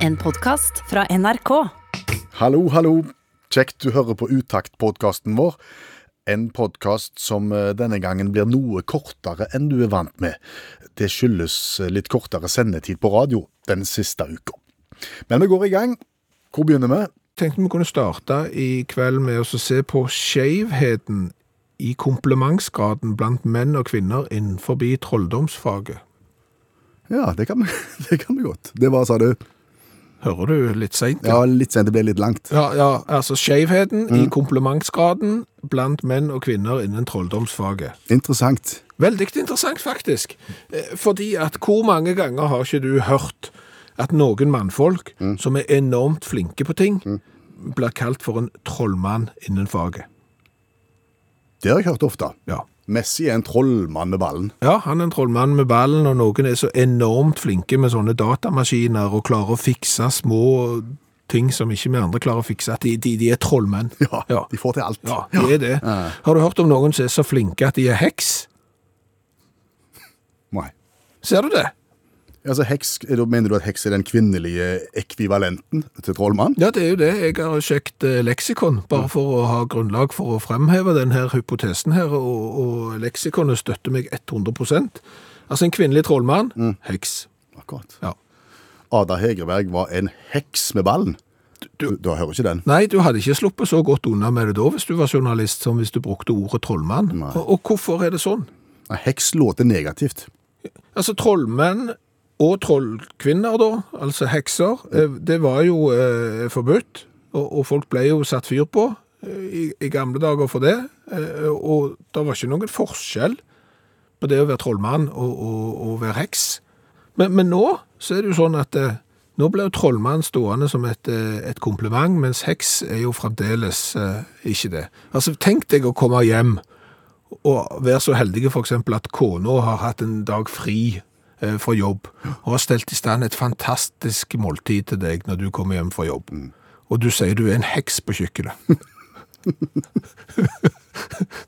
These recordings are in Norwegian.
En podkast fra NRK. Hallo, hallo. Kjekt du hører på Utakt-podkasten vår. En podkast som eh, denne gangen blir noe kortere enn du er vant med. Det skyldes eh, litt kortere sendetid på radio den siste uka. Men vi går i gang. Hvor begynner vi? tenkte vi kunne starte i kveld med å se på skjevheten i komplementsgraden blant menn og kvinner innenfor trolldomsfaget. Ja, det kan, vi, det kan vi godt. Det var, sa du, Hører du litt seint? ja, litt sent, det ble litt langt. Ja, ja, altså skjevheten i komplementsgraden blant menn og kvinner innen trolldomsfaget. Interessant. Veldig interessant, faktisk. Eh, Fordi at hvor mange ganger har ikke du hørt at noen mannfolk som er enormt flinke på ting, blir kalt for en trollmann innen faget? Det har jeg hørt ofte. Ja. Messi er en trollmann med ballen. Ja, han er en trollmann med ballen, og noen er så enormt flinke med sånne datamaskiner og klarer å fikse små ting som ikke vi andre klarer å fikse. At de, de, de er trollmenn. Ja, Ja. de får til alt. Ja, de er det. Har du hørt om noen som er så flinke at de er heks? Nei. Ser du det? Altså, heks, da mener du at heks er den kvinnelige ekvivalenten til trollmann? Ja, det er jo det. Jeg har sjekket eh, leksikon, bare for å ha grunnlag for å fremheve denne hypotesen her, og, og leksikonet støtter meg 100 Altså en kvinnelig trollmann, heks. Akkurat. Ja. Ada Hegerberg var en heks med ballen. Du, da hører ikke den. Nei, du hadde ikke sluppet så godt unna med det da hvis du var journalist, som hvis du brukte ordet trollmann. Nei. Og, og hvorfor er det sånn? Nei, heks låter negativt. Altså, trollmenn og trollkvinner, da, altså hekser, eh, det var jo eh, forbudt, og, og folk ble jo satt fyr på eh, i, i gamle dager for det. Eh, og det var ikke noen forskjell på det å være trollmann og, og, og være heks. Men, men nå så er det jo sånn at eh, nå ble jo trollmann stående som et, eh, et kompliment, mens heks er jo fremdeles eh, ikke det. Altså, tenk deg å komme hjem og være så heldige for eksempel at kona har hatt en dag fri eh, fra jobb, og har stelt i stand et fantastisk måltid til deg når du kommer hjem fra jobb. Mm. Og du sier du er en heks på kjøkkenet.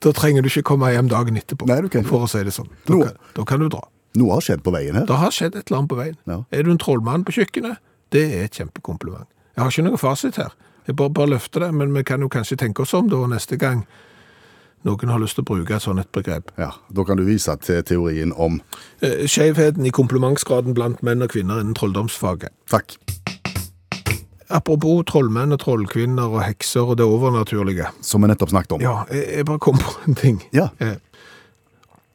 da trenger du ikke komme hjem dagen etterpå, Nei, du kan ikke. for å si det sånn. Da Nå- kan, da kan du dra. Noe har skjedd på veien her. Det har skjedd et eller annet på veien. Ja. Er du en trollmann på kjøkkenet? Det er et kjempekompliment. Jeg har ikke noe fasit her. Jeg bare, bare løfter det, men vi kan jo kanskje tenke oss om da neste gang noen har lyst til å bruke et sånt et begrep. Ja, da kan du vise til teorien om Eh, Skjevheten i komplimentsgraden blant menn og kvinner innen trolldomsfaget. Takk. Apropos trollmenn og trollkvinner og hekser og det overnaturlige. Som vi nettopp snakket om. Ja, jeg, jeg bare kom på en ting. Ja. Eh,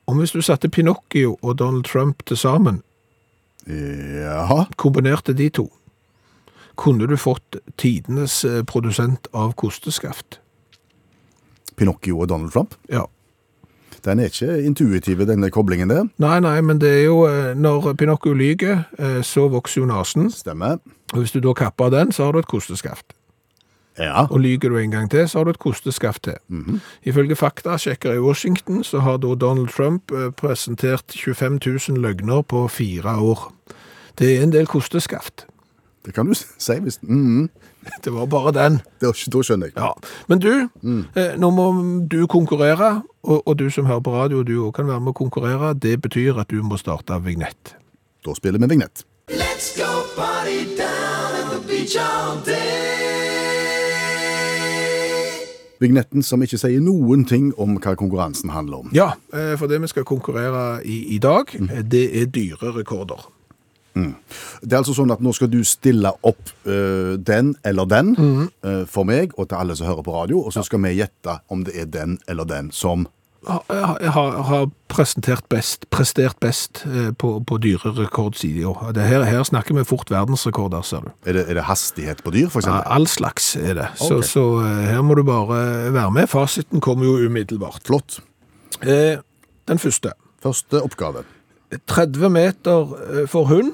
om hvis du satte Pinocchio og Donald Trump til sammen, Jaha. kombinerte de to, kunne du fått tidenes eh, produsent av kosteskaft. Pinocchio og Donald Trump. Ja. Den er ikke intuitiv, denne koblingen der. Nei, nei, men det er jo eh, Når Pinocchio lyger, eh, så vokser jo nesen. Stemmer. Og hvis du da kapper den, så har du et kosteskaft. Ja. Og lyger du en gang til, så har du et kosteskaft til. Ifølge faktasjekker i Washington så har da Donald Trump eh, presentert 25 000 løgner på fire år. Det er en del kosteskaft. Det kan du s- si hvis mm, Det var bare den. det, Da skjønner jeg. Ja, Men du, eh, nå må du konkurrere, og, og du som hører på radio, du òg kan være med å konkurrere. Det betyr at du må starte vignett. Da spiller vi vignett. Vignetten som ikke sier noen ting om hva konkurransen handler om. Ja, eh, for det vi skal konkurrere i i dag, eh, det er dyre rekorder. Det er altså sånn at Nå skal du stille opp øh, den eller den øh, for meg og til alle som hører på radio, og så skal vi gjette om det er den eller den som Ha- eh, ha- Har, har presentert best, prestert best eh, på, på dyrerekordsida. Det Her, her snakker vi fort verdensrekorder, ser du. Er det, er det hastighet på dyr, for Ja, eksempel? all slags er det. Så, Ok. så eh, her må du bare være med. Fasiten kommer jo umiddelbart. Flott. Eh, Den første. Første oppgave. 30 meter eh, for hund,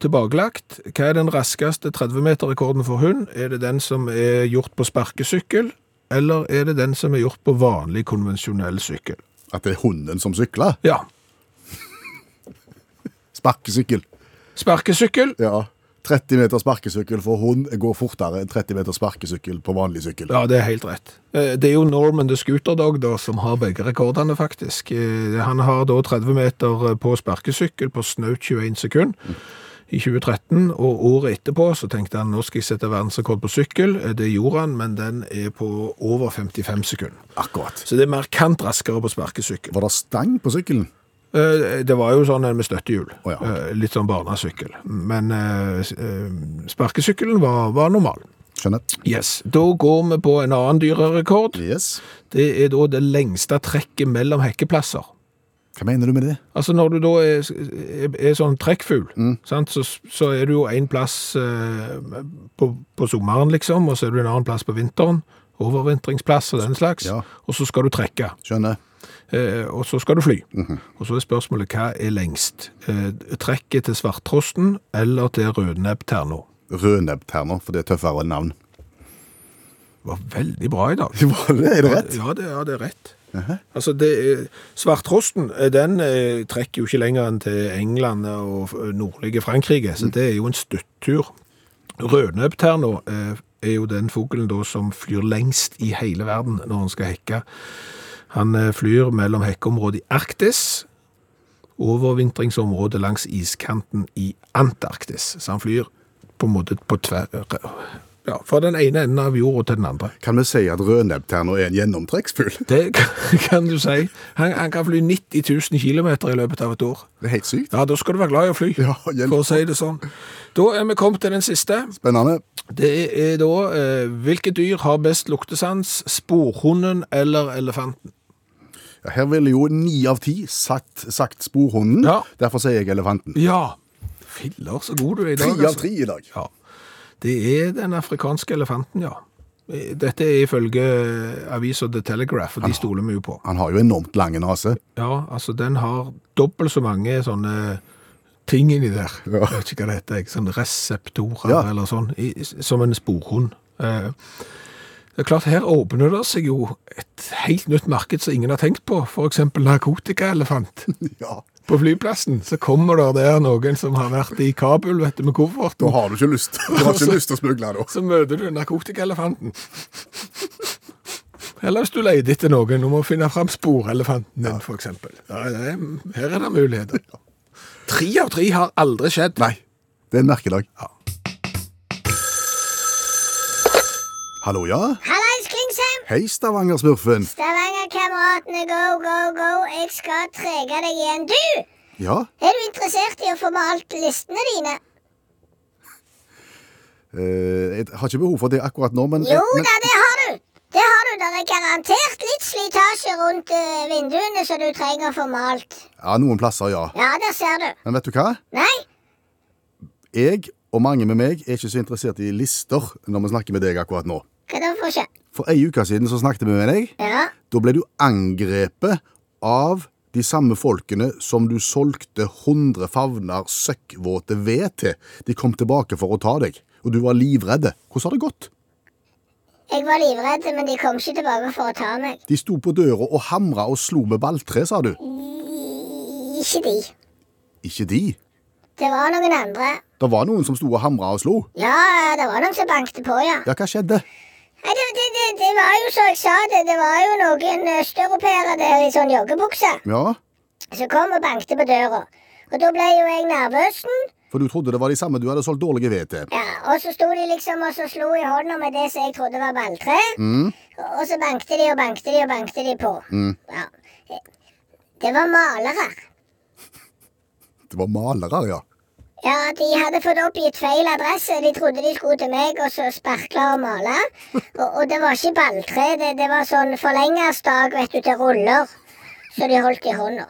tilbakelagt. Hva er den raskeste 30 meter-rekorden for hund? Er det den som er gjort på sparkesykkel, eller er det den som er gjort på vanlig konvensjonell sykkel? At det er hunden som sykler. Ja, Sparkesykkel. sparkesykkel. Ja. 30 meter sparkesykkel for hund går fortere enn 30 meter sparkesykkel på vanlig sykkel. Ja, det er helt rett. Eh, Det er jo Norman the Scooter Dog da, som har begge rekordene, faktisk. Eh, Han har da 30 meter eh, på sparkesykkel på snaut 21 sekund. i 2013, og året etterpå så tenkte han nå skal jeg sette verdensrekord på sykkel. Eh, Det gjorde han, men den er på over 55 sekunder. Akkurat. Så det er markant raskere på sparkesykkel. Var det stang på sykkelen? Eh, Det var jo sånn en med støttehjul. Å, ja. Eh, Litt sånn barnesykkel. Men eh, s- eh, sparkesykkelen var, var normal. Skjønner. Yes. Da går vi på en annen dyrerekord. Yes. Det er da det lengste trekket mellom hekkeplasser. Hva mener du med det? Altså Når du da er, er, er sånn trekkfugl, sant, så, så er du jo én plass eh, på, på sommeren, liksom, og så er du en annen plass på vinteren. Overvintringsplass og den slags. Ja. Og så skal du trekke. Skjønner. Eh, og så skal du fly. Og så er spørsmålet hva er lengst? Eh, trekket til svarttrosten eller til rødnebb terno? Rødnebbterner, for det er tøffere navn. Det var veldig bra i dag. Er det rett? Ja, det, ja, det er rett. Altså, det er, Svarttrosten eh, den eh, trekker jo ikke lenger enn til England og f- eh, nordlige Frankrike, Mm. så det er jo en stuttur. Rødnøbterna eh, er jo den fuglen da som flyr lengst i hele verden når han skal hekke. Han eh, flyr mellom hekkeområdet i Arktis, overvintringsområdet langs iskanten i Antarktis. Så han flyr på en måte på tver... Ja, fra den ene enden av jorda til den andre. Kan vi si at rødnebbterner er en gjennomtrekksfugl? Det kan- kan du si. Han, han kan fly 90 000 km i løpet av et år. Det er helt sykt. Ja, da skal du være glad i å fly, Ja, hjelp. for å si det sånn. Da er vi kommet til den siste. Spennende. Det er da eh, hvilke dyr har best luktesans? Sporhunden eller elefanten? Ja, Her ville jo ni av ti sagt, sagt sporhunden. Ja. Derfor sier jeg elefanten. Ja. Filler, så god du er i dag. Tre av altså. tre i dag. Ja. Det er den afrikanske elefanten, ja. Eh, Dette er ifølge avisa The Ah. Telegraph, og de stoler vi jo på. Han har jo enormt lang nase. Ja, altså den har dobbelt så mange sånne ting inni der. Jeg vet ikke hva det heter, jeg. Sånne reseptorer Ja. eller sånn, i, som en sporhund. Eh, det er klart, her åpner det seg jo et helt nytt marked som ingen har tenkt på. For eksempel narkotikaelefant Ja. på flyplassen. Så kommer der der noen som har vært i Kabul, vet du, med Da kofferten. har du ikke lyst Du har ikke lyst til å smugle, da. Så møter du narkotikaelefanten. Eller hvis du leter etter noen om å finne fram sporelefanten din, for eksempel. Ja, det er, her er det muligheter. Tre av tre har aldri skjedd. Nei. Det er en merkedag. Hallo, ja? Hallais, Klingsheim! Hei, Stavanger-smurfen. Stavanger-kameratene, go, go, go. Jeg skal trege deg igjen. Du! Ja, Er du interessert i å få malt listene dine? eh, jeg har ikke behov for det akkurat nå, men Jo men- da, det har du! Det har du. Det er garantert litt slitasje rundt eh, vinduene som du trenger å få malt. Ja, noen plasser, ja. Ja, der ser du. Men vet du hva? Nei? Jeg, og mange med meg, er ikke så interessert i lister når vi snakker med deg akkurat nå. Hva da for skje? For ei uke siden så snakket vi med deg. Ja. Da ble du angrepet av de samme folkene som du solgte 100 favner søkkvåte ved til. De kom tilbake for å ta deg, og du var livredde. Hvordan har det gått? Jeg var livredd, men de kom ikke tilbake for å ta meg. De sto på døra og hamra og slo med balltre, sa du. Ikke de. Ikke de. Det var noen andre. Det var noen som sto og hamra og slo. Ja, det var noen som bankte på, ja. Ja, hva skjedde? Nei, det, det, det, det var jo som jeg sa det, det var jo noen østeuropeere der i sånn joggebukse Ja, som kom og bankte på døra. Og da ble jo jeg nervøsen. for du trodde det var de samme du hadde solgt dårlige ved til. Ja, og så sto de liksom og så slo i hånda med det som jeg trodde var balltre. Og, og så bankte de og bankte de og bankte de på. Ja. Det var malere. Det var malere, ja. Ja, de hadde fått oppgitt feil adresse. De trodde de skulle til meg og så sparkle og male. Og, og det var ikke balltre, det, det var sånn forlengersdag, vet du, til ruller. Så de holdt i hånda.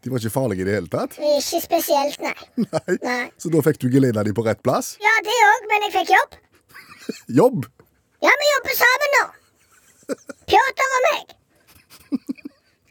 De var ikke farlige i det hele tatt. Ikke spesielt, nei. Nei. Nei. Så da fikk du geleda de på rett plass. Ja, det òg, men jeg fikk jobb. Jobb! Ja, vi jobber sammen nå. Pjotr og meg.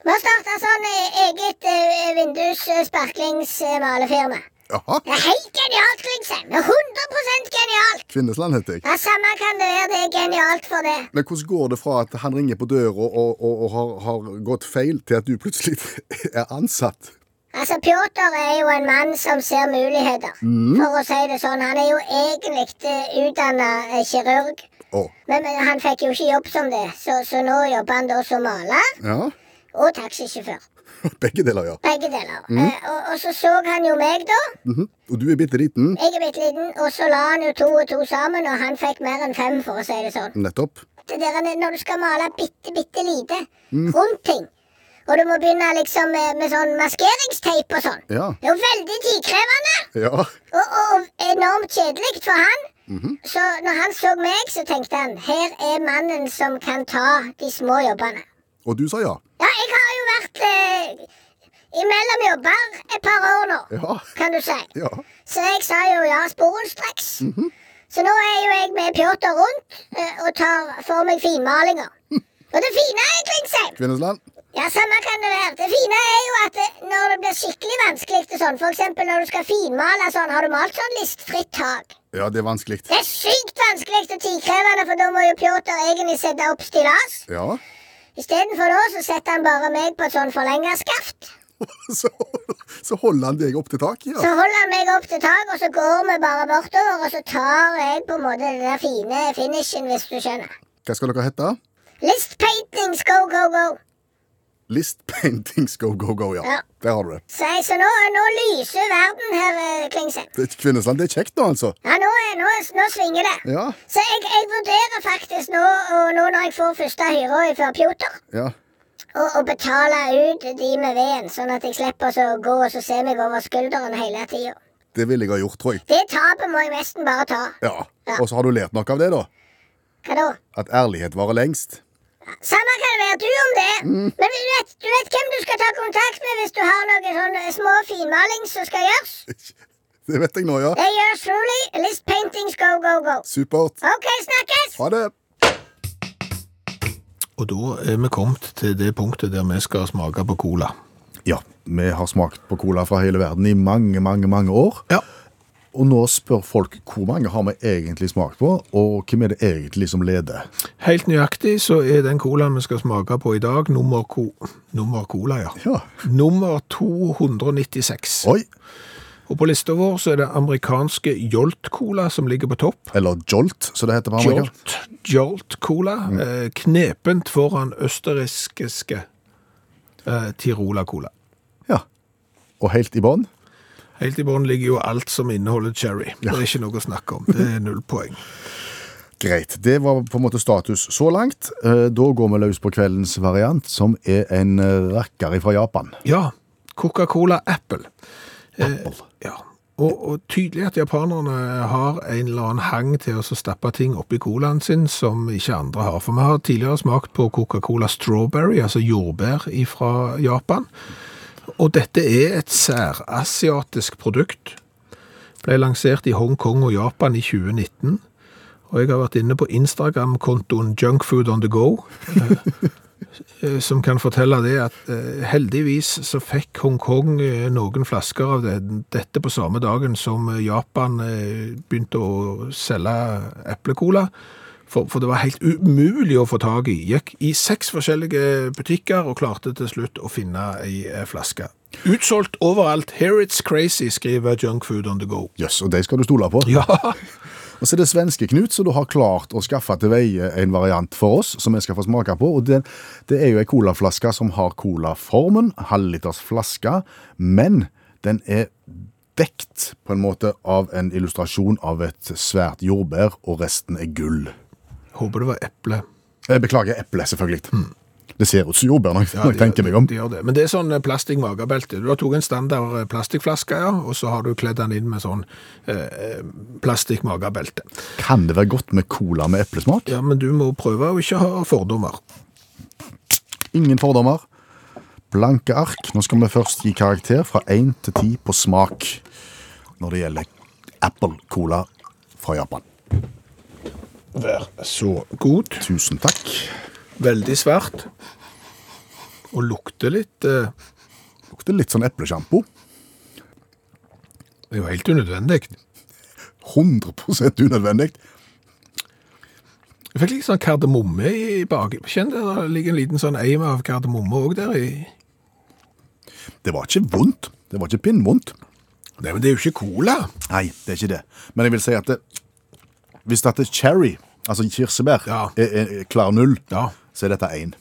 Vi har starta sånn eh, eget eh, vindussparklingsmalefirma. Jaha. Det er helt genialt, Klingsheim. Det er 100 genialt. Kvinnesland heter jeg. Ja, Samme kan det være, det er genialt for det. Men hvordan går det fra at han ringer på døra og, og, og har, har gått feil, til at du plutselig er ansatt? Altså, Pjotr er jo en mann som ser muligheter, for å si det sånn. Han er jo egentlig utdanna kirurg, Å, men, men han fikk jo ikke jobb som det, så, så nå jobber han da som maler ja. og taxisjåfør. Begge deler, ja. Begge deler. Eh, og, og så så han jo meg, da. Mhm. Og du er bitte liten. Jeg er bitte liten. Og så la han jo to og to sammen, og han fikk mer enn fem, for å si det sånn. Nettopp. Det der med når du skal male bitte, bitte lite rundt ting, og du må begynne liksom med, med sånn maskeringsteip og sånn, Ja. det er jo veldig tidkrevende. Ja. Og, og enormt kjedelig for han. Så når han så meg, så tenkte han her er mannen som kan ta de små jobbene. Og du sa ja. Ja, jeg har jo vært eh, imellom jobber et par år nå, Ja. kan du si. Ja. Så jeg sa jo ja sporenstreks. Så nå er jo jeg med Pjotr rundt eh, og tar for meg finmalinger. Og det fine er, Klingsheim, Kvinnesland. ja, samme kan det være. Det fine er jo at det, når det blir skikkelig vanskelig til sånn, for eksempel når du skal finmale sånn, har du malt sånn listfritt tak? Ja, det er vanskelig. Det er sykt vanskelig og tidkrevende, for da må jo Pjotr egentlig sette opp stillas. Ja. Istedenfor da så setter han bare meg på et sånn forlenga skaft. Så, så holder han deg opp til taket, Så ja. holder han meg opp til tak, og så går vi bare bortover, og så tar jeg på en måte den der fine finishen, hvis du skjønner. Hva skal dere hete? Listpaintings go, go, go. List Paintings Go Go Go, ja. Ja. Der har du det. Så, jeg, så nå, nå lyser verden her, eh, Klingsheim. det er Kvinnesland, det er kjekt nå, altså. Ja, nå, er- nå, nå svinger det. Ja. Så jeg, jeg vurderer faktisk nå, og nå når jeg får første hyra fra Pjotr, Ja. å å betale ut de med veden, sånn at jeg slipper så å gå og så se meg over skulderen hele tida. Det ville jeg ha gjort, tror jeg. Det tapet må jeg nesten bare ta. Ja. Og så har du lært noe av det, da. Hva da? At ærlighet varer lengst. Samme kan det være du om det, men du vet, du vet hvem du skal ta kontakt med hvis du har noen sånne små finmaling som skal gjøres? Det vet jeg nå, ja. Det gjøres rolig. List paintings go, go, go. Supert. OK, snakkes! Ha det. Og da er vi kommet til det punktet der vi skal smake på cola. Ja, vi har smakt på cola fra hele verden i mange, mange, mange år. Ja. Og nå spør folk hvor mange har vi egentlig smakt på, og hvem er det egentlig som leder? Helt nøyaktig så er den colaen vi skal smake på i dag, nummer, ko nummer cola, ja. Ja. Nummer 296. Oi, Og på lista vår så er det amerikanske Jolt Cola som ligger på topp. eller Jolt, som det heter på amerikansk. Jolt, Oh Jolt Cola, eh, knepent foran østerrikske eh, Tirola Cola. Ja. Og helt i bånn. Helt i bånn ligger jo alt som inneholder cherry. Det er ikke noe å snakke om. Det er null poeng. Greit. Det var på en måte status så langt. Eh, Da går vi løs på kveldens variant, som er en eh, rakker fra Japan. Ja, Coca-Cola Apple. Eh, ja. Og, og tydelig at japanerne har en eller annen hang til å så stappe ting oppi colaen sin som ikke andre har. For vi har tidligere smakt på Coca-Cola Strawberry, altså jordbær fra Japan. Og dette er et særasiatisk produkt. Ble lansert i Hongkong og Japan i 2019. Og jeg har vært inne på Instagram-kontoen Junkfood on the go eh, som kan fortelle det at eh, heldigvis så fikk Hongkong eh, noen flasker av det, dette på samme dagen som eh, Japan eh, begynte å selge eplekola. For, for det var helt umulig å få tak i. Gikk i seks forskjellige butikker og klarte til slutt å finne ei eh, flaske. Utsolgt overalt. Here it's crazy, skriver Junk Food on the go. Jøss, og de skal du stole på. Ja, Og så er det svenske Knut som da har klart å skaffe til veie en variant for oss, som vi skal få smake på. Og det, det er jo ei colaflaske som har colaformen, halvliters flaske, men den er dekt på en måte av en illustrasjon av et svært jordbær, og resten er gull. håper det var eple. Eh, Beklager, eple, selvfølgelig. Hmm. Det ser ut som jordbær når jeg- når jeg de- tenker meg om. De gjør det. Men det er sånn eh, plastikkmagebelte. Du har tatt en standard eh, plastikkflaske, ja, og så har du kledd den inn med sånn eh, plastikkmagebelte. Kan det være godt med cola med eplesmak? Ja, men du må prøve å ikke ha fordommer. Ingen fordommer. Blanke ark. Nå skal vi først gi karakter fra 1 til 10 på smak når det gjelder Apple Cola fra Japan. Vær så god. Tusen takk. Veldig svært. Og lukter litt eh, Lukter litt sånn eplesjampo. Det er jo helt unødvendig. 100 unødvendig. Jeg fikk litt sånn kardemomme i bak. Kjenn det, det ligger en liten sånn eim av kardemomme òg der i Det var ikke vondt. Det var ikke pinnvondt. Nei, men det er jo ikke cola. Nei, det er ikke det. Men jeg vil si at det, hvis dette er cherry, altså kirsebær, Ja. er, er, er klar null, Ja. så er dette én.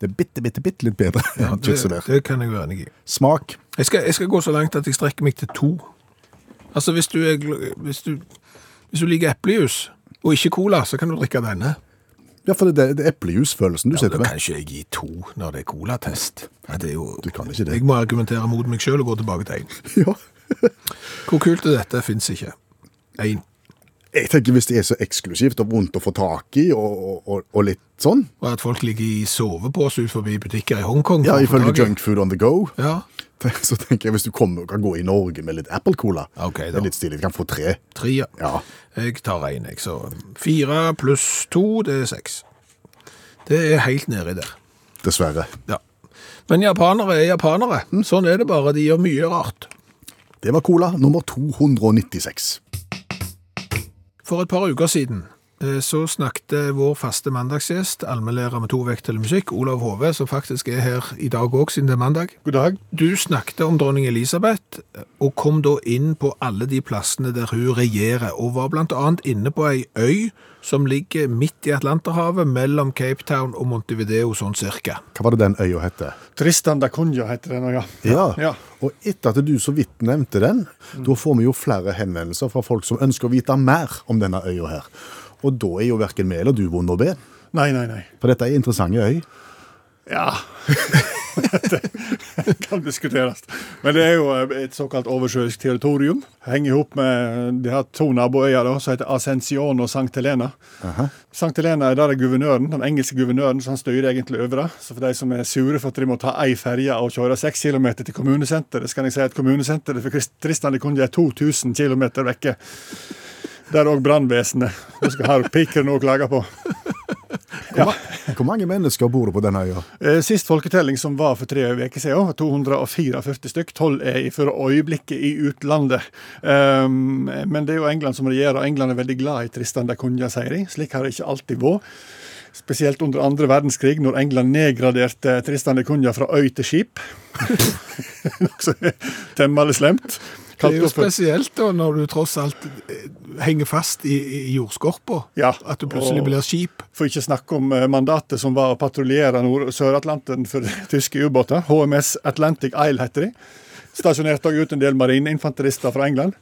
Det er bitte, bitte, bitte litt bedre enn kirsebær. Det kan jeg være enig i. Smak. Jeg skal, jeg skal gå så langt at jeg strekker meg til to. Altså, hvis du, er, gl- hvis du, hvis du liker eplejus og ikke cola, så kan du drikke denne. Ja, for det er- det er eplejusfølelsen du sitter Da med. kan ikke jeg gi to når det er colatest. Nei, det er jo- Du kan ikke det. Jeg må argumentere mot meg sjøl og gå tilbake til én. Ja. Hvor kult er dette? Fins ikke. Én. Jeg tenker Hvis det er så eksklusivt og vondt å få tak i, og, og, og litt sånn Og at folk ligger i sovepose ut forbi butikker i Hongkong. for Ja, å få Ifølge tak i- Junkfood on the go, Ja. så tenker jeg hvis du kommer og kan gå i Norge med litt Apple-cola Ok, da. Det er litt stilig. Du kan få tre. Tre, ja. Ja. Jeg tar én, jeg. Så fire pluss to, det er seks. Det er helt nedi der. Dessverre. Ja. Men japanere er japanere. Sånn er det bare. De gjør mye rart. Det var cola nummer 296. For et par uker siden eh, så snakket vår faste mandagsgjest, allmennlærer med to vekttall i musikk, Olav Hove, som faktisk er her i dag òg, siden det er mandag. God dag. Du snakket om dronning Elisabeth, eh, og kom da inn på alle de plassene der hun regjerer, og var blant annet inne på ei øy som ligger midt i Atlanterhavet, mellom Cape Town og Montevideo, sånn cirka. Hva var det den øya het? Tristan da Cunha heter den, og ja. Ja. Ja. Mm. Og etter at du så vidt nevnte den, da får vi jo flere henvendelser fra folk som ønsker å vite mer om denne øya her. Og da er jo verken vi eller du vond å be, Nei, nei, nei. for dette er interessante øy. Ja. det kan diskuteres. Men det er jo eh, et såkalt oversjøisk territorium. Henger ihop med de her to naboøyer da, som heter Ascension og Sankt Helena. Sankt Helena er der er guvernøren, den engelske guvernøren, så han styrer egentlig over det. Så for de som er sure for at de må ta ei ferje og kjøre seks kilometer til kommunesenteret, så kan jeg si at kommunesenteret for Krist- Tristan de Cunha er 2000 kilometer vekke. Der òg brannvesenet. Du skal ha pikeren å klage på. Hvor, ma- hvor mange mennesker bor det på denne øya? Eh, Sist folketelling som var for tre uker siden, var 244 stykk. Tolv er i- for øyeblikket i utlandet. Ehm, men det er jo England som regjerer, og England er veldig glad i Tristan da Cunha, sier de. Slik har det ikke alltid vært. Spesielt under andre verdenskrig, når England nedgraderte Tristan da Cunha fra øy til skip. Noe som er Temmelig slemt. Det er jo Kalte for- spesielt da, når du tross alt eh, henger fast i, i jordskorpa. Ja. At du plutselig Og- blir skip. For ikke å snakke om eh, mandatet som var å patruljere Nord- Sør-Atlanten for tyske ubåter. HMS Atlantic Isle heter de. Stasjonerte også ut en del marineinfanterister fra England.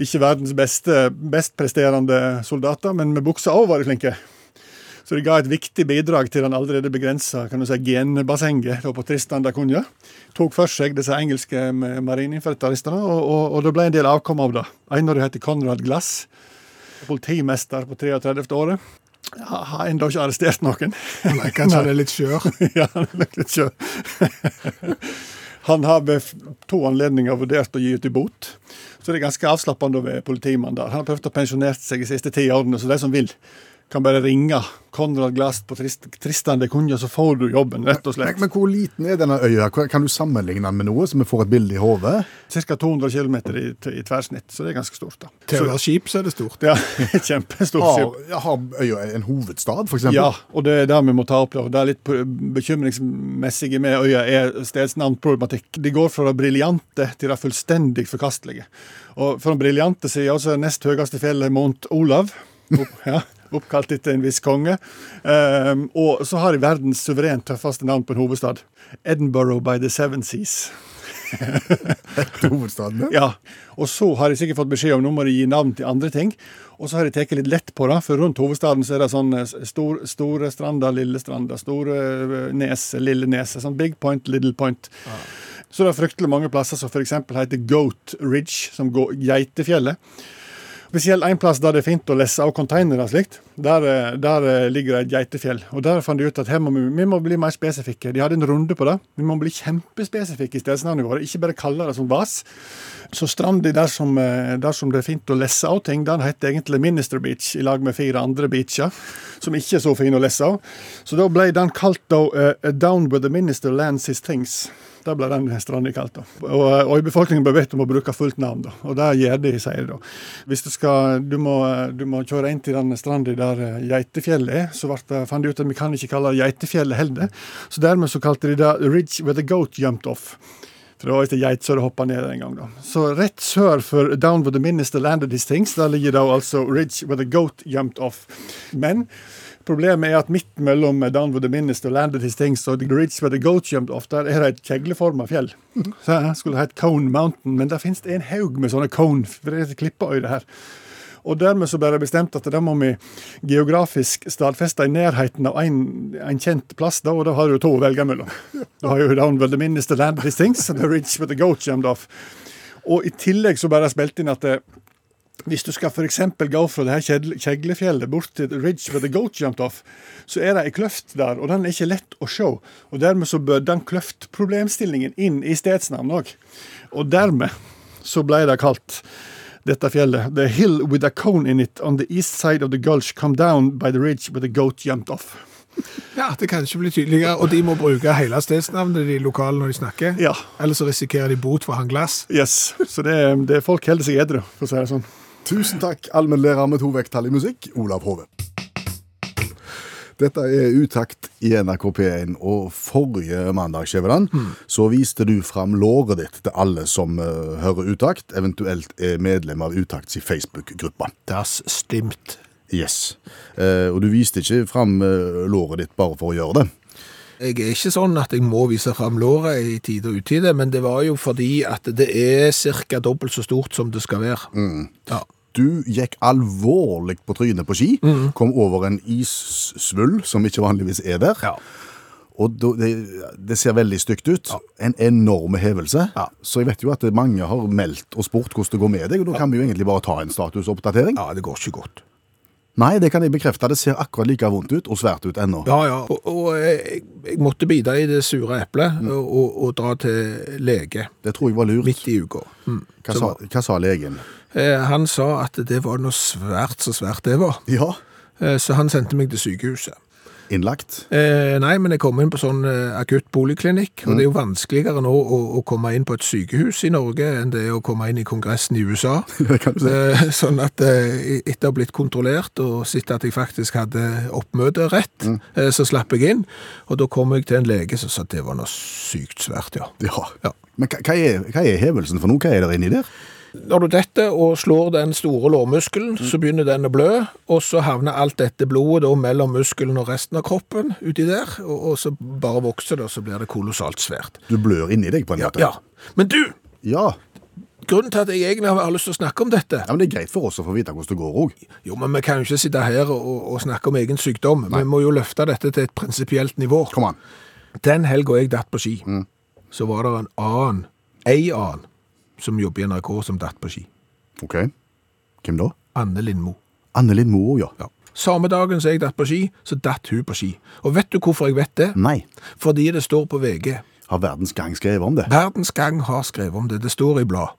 Ikke verdens beste, best presterende soldater, men med buksa òg var de flinke. Så de ga et viktig bidrag til den allerede begrensa kan du si, genbassenget da på Tristan da Cunha. Tok for seg disse engelske eh, marineinfanteristene, og, og, og det ble en del avkom av det. En av dem heter Conrad Glass, politimester på 33. året. Jeg har ennå ikke arrestert noen. Nei, kanskje han er litt skjør. ja, han er nok litt skjør. Han har ved f- to anledninger vurdert å gi ut i bot, så det er ganske avslappende å være politimann der. Han har prøvd å pensjonere seg de siste ti årene, så de som vil, kan bare ringe Konrad Glass på Trist Tristan de Cunha, så får du jobben, rett og Men, slett. men hvor liten er denne øya? Hvor- Kan du sammenligne den med noe, så vi får et bilde i hodet? Ca. 200 km i, i tverrsnitt, så det er ganske stort. da. Til å Så, være skip, så er det stort. ja, kjempestort skip. Har, har øya en hovedstad, for eksempel? Ja, og det er det vi må ta opp. da. Det er litt p- bekymringsmessige med øya er stedsnavnproblematikk. De går fra det briljante til det fullstendig forkastelige. Og fra den briljante sida så er nest høyeste fjellet Mount Olav. Opp, ja, oppkalt etter en viss konge. Ehm, og så har de verdens suverent tøffeste navn på en hovedstad. Edinburgh by the Seven Seas. Til hovedstaden, ja. Ja, og så har jeg sikkert fått beskjed om nå må de gi navn til andre ting. Og så har jeg tatt litt lett på det, for rundt hovedstaden så er det sånn eh, stor, Store Stranda, Lille Stranda, Store eh, Neset, Lille Neset. Sånn Big Point, Little Point. Så det er fryktelig mange plasser som f.eks. heter Goat Ridge, som går Geitefjellet. Spesielt en plass der det er fint å lesse av containere og slikt. Der, eh, der eh, ligger det et geitefjell. Og der fant de ut at her må vi, vi må bli mer spesifikke. De hadde en runde på det. Vi må bli kjempespesifikke i stedsnavnene våre. Ikke bare kalle det som vas. Så stranda der, som, eh, der som det er fint å lesse av ting, den heter egentlig Minister Beach, i lag med fire andre beacher som ikke er så fine å lesse av. Så da ble den kalt da eh, Down where the minister lands his things. Der ble den stranda kalt. da. Og, eh, og befolkningen ble bedt om å bruke fullt navn, da. og det gjør de, sier de da. Hvis du skal, du må, eh, du må kjøre inn til den stranda der eh, Geitefjellet er, så ble det- fant de ut at vi kan ikke kalle det Geitefjellet heller. Så dermed så kalte de det Ridge where the goat jumped off. For det var ikke geit som hoppa ned en gang, da. Så rett sør for Down where the minister landed his things, der ligger da altså Ridge where the goat jumped off. Men Problemet er at midt mellom Down with the Minist og Landed His Things og The Ridge Where the Goat Jumped Off, der er det et kjegleforma fjell. Så jeg skulle hett Cone Mountain, men der finnes det en haug med sånne cone, for det heter klippeøyde her. Og dermed så ble det bestemt at da må vi geografisk stadfeste i nærheten av en, en kjent plass, da, og da har du to å velge mellom. Da har jo Down with the Minist og Landed His Things og The Ridge Where the Goat Jumped Off. Og i tillegg så ble det spilt inn at eh, det, hvis du skal for eksempel gå fra det her kjedel- Kjeglefjellet bort til the Ridge where the goat jumped off, så er det ei kløft der, og den er ikke lett å se. Og dermed så bød den kløftproblemstillingen inn i stedsnavn òg. Og dermed så ble det kalt dette fjellet The hill with a cone in it on the east side of the gulch come down by the ridge where the goat jumped off. Ja, Det kan ikke bli tydeligere, og de må bruke hele stedsnavnet de lokale når de snakker. Ja. Ellers så risikerer de bot for han glass. Yes, Så det, det folk holder seg edru, for å si det sånn. Tusen takk, allmennlærer med to vekttall i musikk, Olav Hove. Dette er utakt i NRK P1, og forrige mandag Skjæveland, så viste du fram låret ditt til alle som eh, hører utakt, eventuelt er medlem av utakts i Facebook-gruppa. Das stimmt. Yes. Eh, og du viste ikke fram eh, låret ditt bare for å gjøre det. Jeg er ikke sånn at jeg må vise fram låret i tide og utide, men det var jo fordi at det er ca. dobbelt så stort som det skal være. Mm. Ja. Du gikk alvorlig på trynet på ski, Mhm. kom over en issvull som ikke vanligvis er der. Ja. Og da- det, det ser veldig stygt ut. En enorm hevelse. Ja. Så jeg vet jo at mange har meldt og spurt hvordan det går med deg, og da kan vi jo egentlig bare ta en statusoppdatering. ja, det går ikke godt. Nei, det kan jeg bekrefte. Det ser akkurat like vondt ut og svært ut ennå. Ja, ja. Og, og jeg, jeg måtte bite i det sure eplet og, og, og dra til lege Det tror jeg var lurt. midt i uka. Mm. Hva sa, hva sa legen? Eh, han sa at det var noe svært så svært det var, Ja. eh, så han sendte meg til sykehuset. Innlagt? Eh, nei, men jeg kom inn på sånn eh, akutt boligklinikk, og det er jo Mm. vanskeligere nå å, å komme inn på et sykehus i Norge enn det er å komme inn i kongressen i USA. Det kan du si. Eh, sånn at eh, etter å ha blitt kontrollert og sett at jeg faktisk hadde oppmøtet rett, Mm. eh, så slapp jeg inn. Og da kom jeg til en lege som sa at det var noe sykt svært, ja. Ja. Ja. Men hva, hva, er, hva er hevelsen for noe? Hva er der inni der? Når du detter og slår den store lårmuskelen, Mm. så begynner den å blø, og så havner alt dette blodet da mellom muskelen og resten av kroppen uti der, og, og så bare vokser det, og så blir det kolossalt svært. Du blør inni deg, på en måte. Ja, Men du, ja. grunnen til at jeg egentlig har lyst til å snakke om dette Ja, men Det er greit for oss å få vite hvordan det går òg. Jo, men vi kan jo ikke sitte her og, og snakke om egen sykdom. Vi må jo løfte dette til et prinsipielt nivå. Kom an. Mm. Den helga jeg datt på ski, så var det en annen, ei annen, som jobber i NRK, som datt på ski. OK. Hvem da? Anne Lindmo. Anne Linn Moe, ja. Ja. Samme dagen som jeg datt på ski, så datt hun på ski. Og vet du hvorfor jeg vet det? Nei. Fordi det står på VG. Har Verdens Gang skrevet om det? Verdens Gang har skrevet om det. Det står i blad.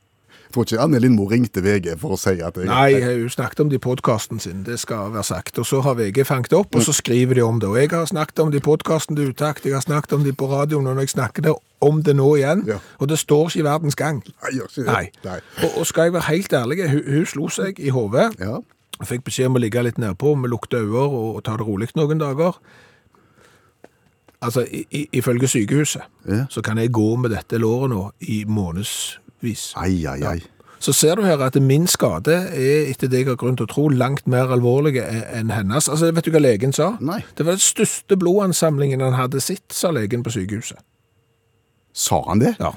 Tror ikke Anne Lindmo ringte VG for å si at jeg Nei, hun snakket om det i podkasten sin, det skal være sagt. Og så har VG fanget opp, Mm. og så skriver de om det. Og jeg har snakket om det i podkasten til Utakt, jeg har snakket om det på radioen, og jeg snakker det om det nå igjen. Ja. Og det står ikke i Verdens Gang. Nei, gjør ikke det. Nei. Nei. Og, og skal jeg være helt ærlig, hun, hun slo seg i hodet. Ja. Jeg Fikk beskjed om å ligge litt nedpå, vi lukte øyne og, og ta det rolig noen dager. Altså, i, i, ifølge sykehuset Ja. så kan jeg gå med dette låret nå i månedsvis. Ai, ai, ai. Så ser du her at min skade er, etter det jeg har grunn til å tro, langt mer alvorlig e- enn hennes. Altså, vet du hva legen sa? Nei. Det var den største blodansamlingen han hadde sett, sa legen på sykehuset. Sa han det? Ja.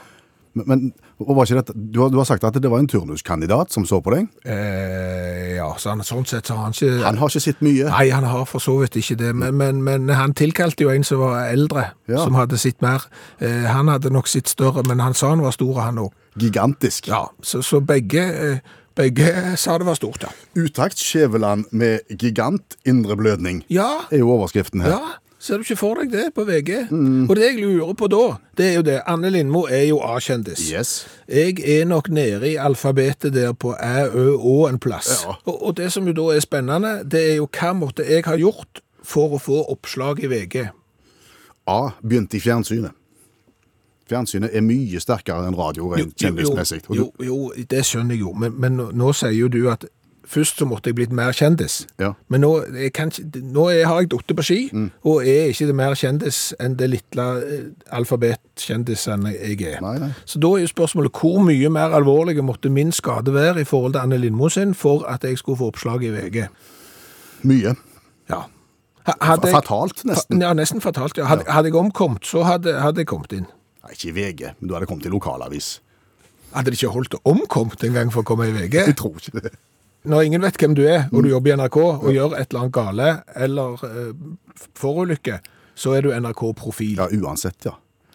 Men, men og var ikke dette, du, har, du har sagt at det var en turnuskandidat som så på deg? Eh, ja, så han, sånn sett så har han ikke... Han har ikke sett mye. Nei, han har for så vidt ikke det, men, men, men han tilkalte jo en som var eldre, Ja. som hadde sitt mer. Eh, han hadde nok sitt større, men han sa han var stor, han òg. Gigantisk. Ja, så, så begge, eh, begge sa det var stort, ja. Utakt Skjæveland med gigant indre blødning, Ja, er jo overskriften her. ja. Ser du ikke for deg det på VG? Mm. Og det jeg lurer på da, det er jo det. Anne Lindmo er jo A-kjendis. Yes. Jeg er nok nede i alfabetet der på æ, ø, å en plass. Ja. Og, og det som jo da er spennende, det er jo hva måtte jeg ha gjort for å få oppslag i VG? A begynte i fjernsynet. Fjernsynet er mye sterkere enn radio rent kjendismessig. Og du- Jo, jo, jo, det skjønner jeg jo, men, men nå- nå sier jo du at først så måtte jeg blitt mer kjendis. Ja. Men nå, jeg kan, ikke- nå er, har jeg datt på ski, Mm. og er ikke det mer kjendis enn det lille eh, alfabetkjendisen jeg er. Nei, nei. Så da er jo spørsmålet hvor mye mer alvorlig måtte min skade være i forhold til Anne Lindmo sin for at jeg skulle få oppslag i VG? Mye. Ja. Ha- Hadde jeg, Fatalt, nesten. ja, nesten fatalt. Ja. Hadde, hadde jeg omkommet, så hadde, hadde jeg kommet inn. Nei, ikke i VG, men du hadde kommet i lokalavis. Hadde det ikke holdt å omkomt en gang for å komme i VG? Jeg tror ikke det. Når ingen vet hvem du er, Mm. og du jobber i NRK og gjør et eller annet gale eller eh, forulykke, så er du NRK-profil. Ja, uansett, ja.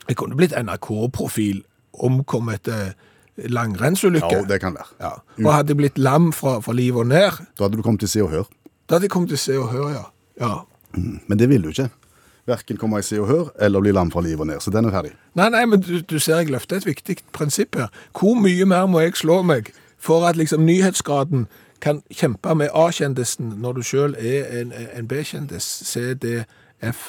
Jeg kunne blitt NRK-profil omkommet eh, langrennsulykke. Ja, det kan være. Ja. Og hadde jeg blitt lam fra, fra liv og ned, Da hadde du kommet til Se og Hør. da hadde jeg kommet til Se og Hør, ja. ja. Men det vil du ikke. Verken komme i Se og Hør eller bli lam fra livet og ned. Så den er ferdig. Nei, nei, men du, du ser jeg løfter et viktig prinsipp her. Hvor mye mer må jeg slå meg for at liksom nyhetsgraden kan kjempe med A-kjendisen når du selv er en, en B-kjendis? C, D, F,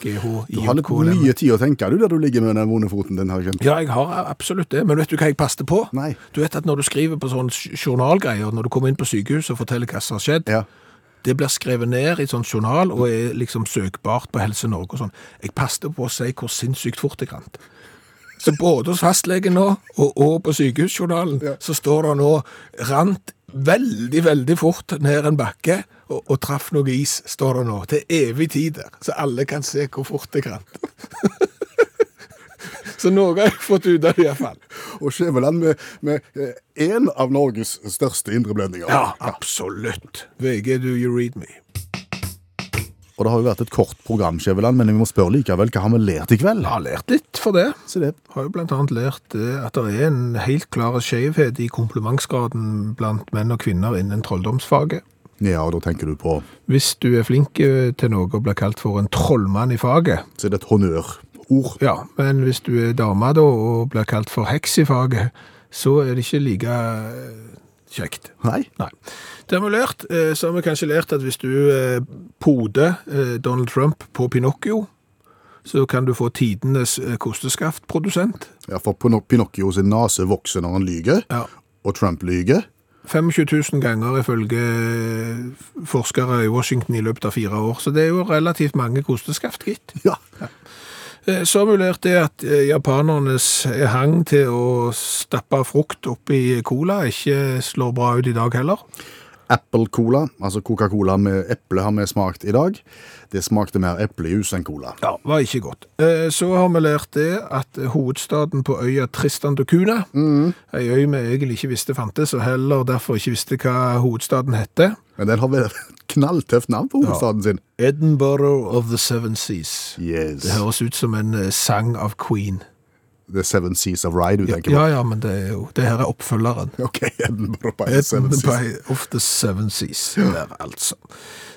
G, H, Du I, har J, litt K, L, M. E. mye tid å tenke, du, der du ligger med den vonde foten din. Her, Ja, jeg har absolutt det, men vet du hva jeg passer på? Nei. Du vet at når du skriver på sånne sj- journalgreier, når du kommer inn på sykehus og forteller hva som har skjedd, Ja. det blir skrevet ned i sånn journal og er liksom søkbart på Helse Norge og sånn. Jeg passet på å si hvor sinnssykt fort jeg rant. Så både hos fastlegen nå og, og på sykehusjournalen så står det nå rant veldig, veldig fort ned en bakke og, og traff noe is, står det nå. Til evig tid der, så alle kan se hvor fort jeg rant. så noe har jeg fått ut av det iallfall. Og Skjæveland med, med eh, en av Norges største indreblødninger. Ja, absolutt. VG, do you read me? Og det har jo vært et kort program, Skjæveland, men vi må spørre likevel, hva har vi lært i kveld? Jeg har lært litt for det. Se det. har jo blant annet lært eh, at det er en helt klar skjevhet i komplimentsgraden blant menn og kvinner innen trolldomsfaget. Ja, og da tenker du på Hvis du er flink eh, til noe og blir kalt for en trollmann i faget, Så er det et honnørord. ja, men hvis du er dame da og blir kalt for heks i faget, så er det ikke like eh, kjekt. Nei. Nei. Det har vi lært. eh, Så har vi kanskje lært at hvis du eh, poder eh, Donald Trump på Pinocchio, så kan du få tidenes eh, kosteskaftprodusent. Ja, for Pino- Pinocchio sin nase vokser når han lyger, Ja. og Trump lyger. 25 000 ganger ifølge forskere i Washington i løpet av fire år, så det er jo relativt mange kosteskaft, gitt. Ja. Eh, Så mulert det at eh, japanernes hang til å stappe frukt oppi cola ikke slår bra ut i dag heller. Apple Cola, altså Coca-Cola med eple, har vi smakt i dag. Det smakte mer eplejus enn cola. Ja, var ikke godt. Eh, Så har vi lært det at hovedstaden på øya Tristan da Cunha, ei øy vi egentlig ikke visste fantes, og heller derfor ikke visste hva hovedstaden hette, Men den har vel et knalltøft navn på hovedstaden sin. Edinburgh of the Seven Seas. Yes. Det høres ut som en eh, sang av Queen. The Seven Seas of Rye, du tenker på. Ja, ja, men det er jo Det her er oppfølgeren. Ok, Edinburgh by the Seven Seas. By of the Seven Seas. Der, altså.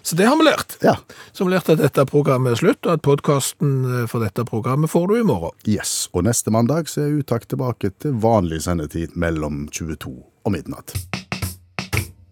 Så det har vi lært. Ja. Så har vi lært at dette programmet er slutt, og at podkasten for dette programmet får du i morgen. Yes, og neste mandag så er Utakt tilbake til vanlig sendetid mellom 22 og midnatt.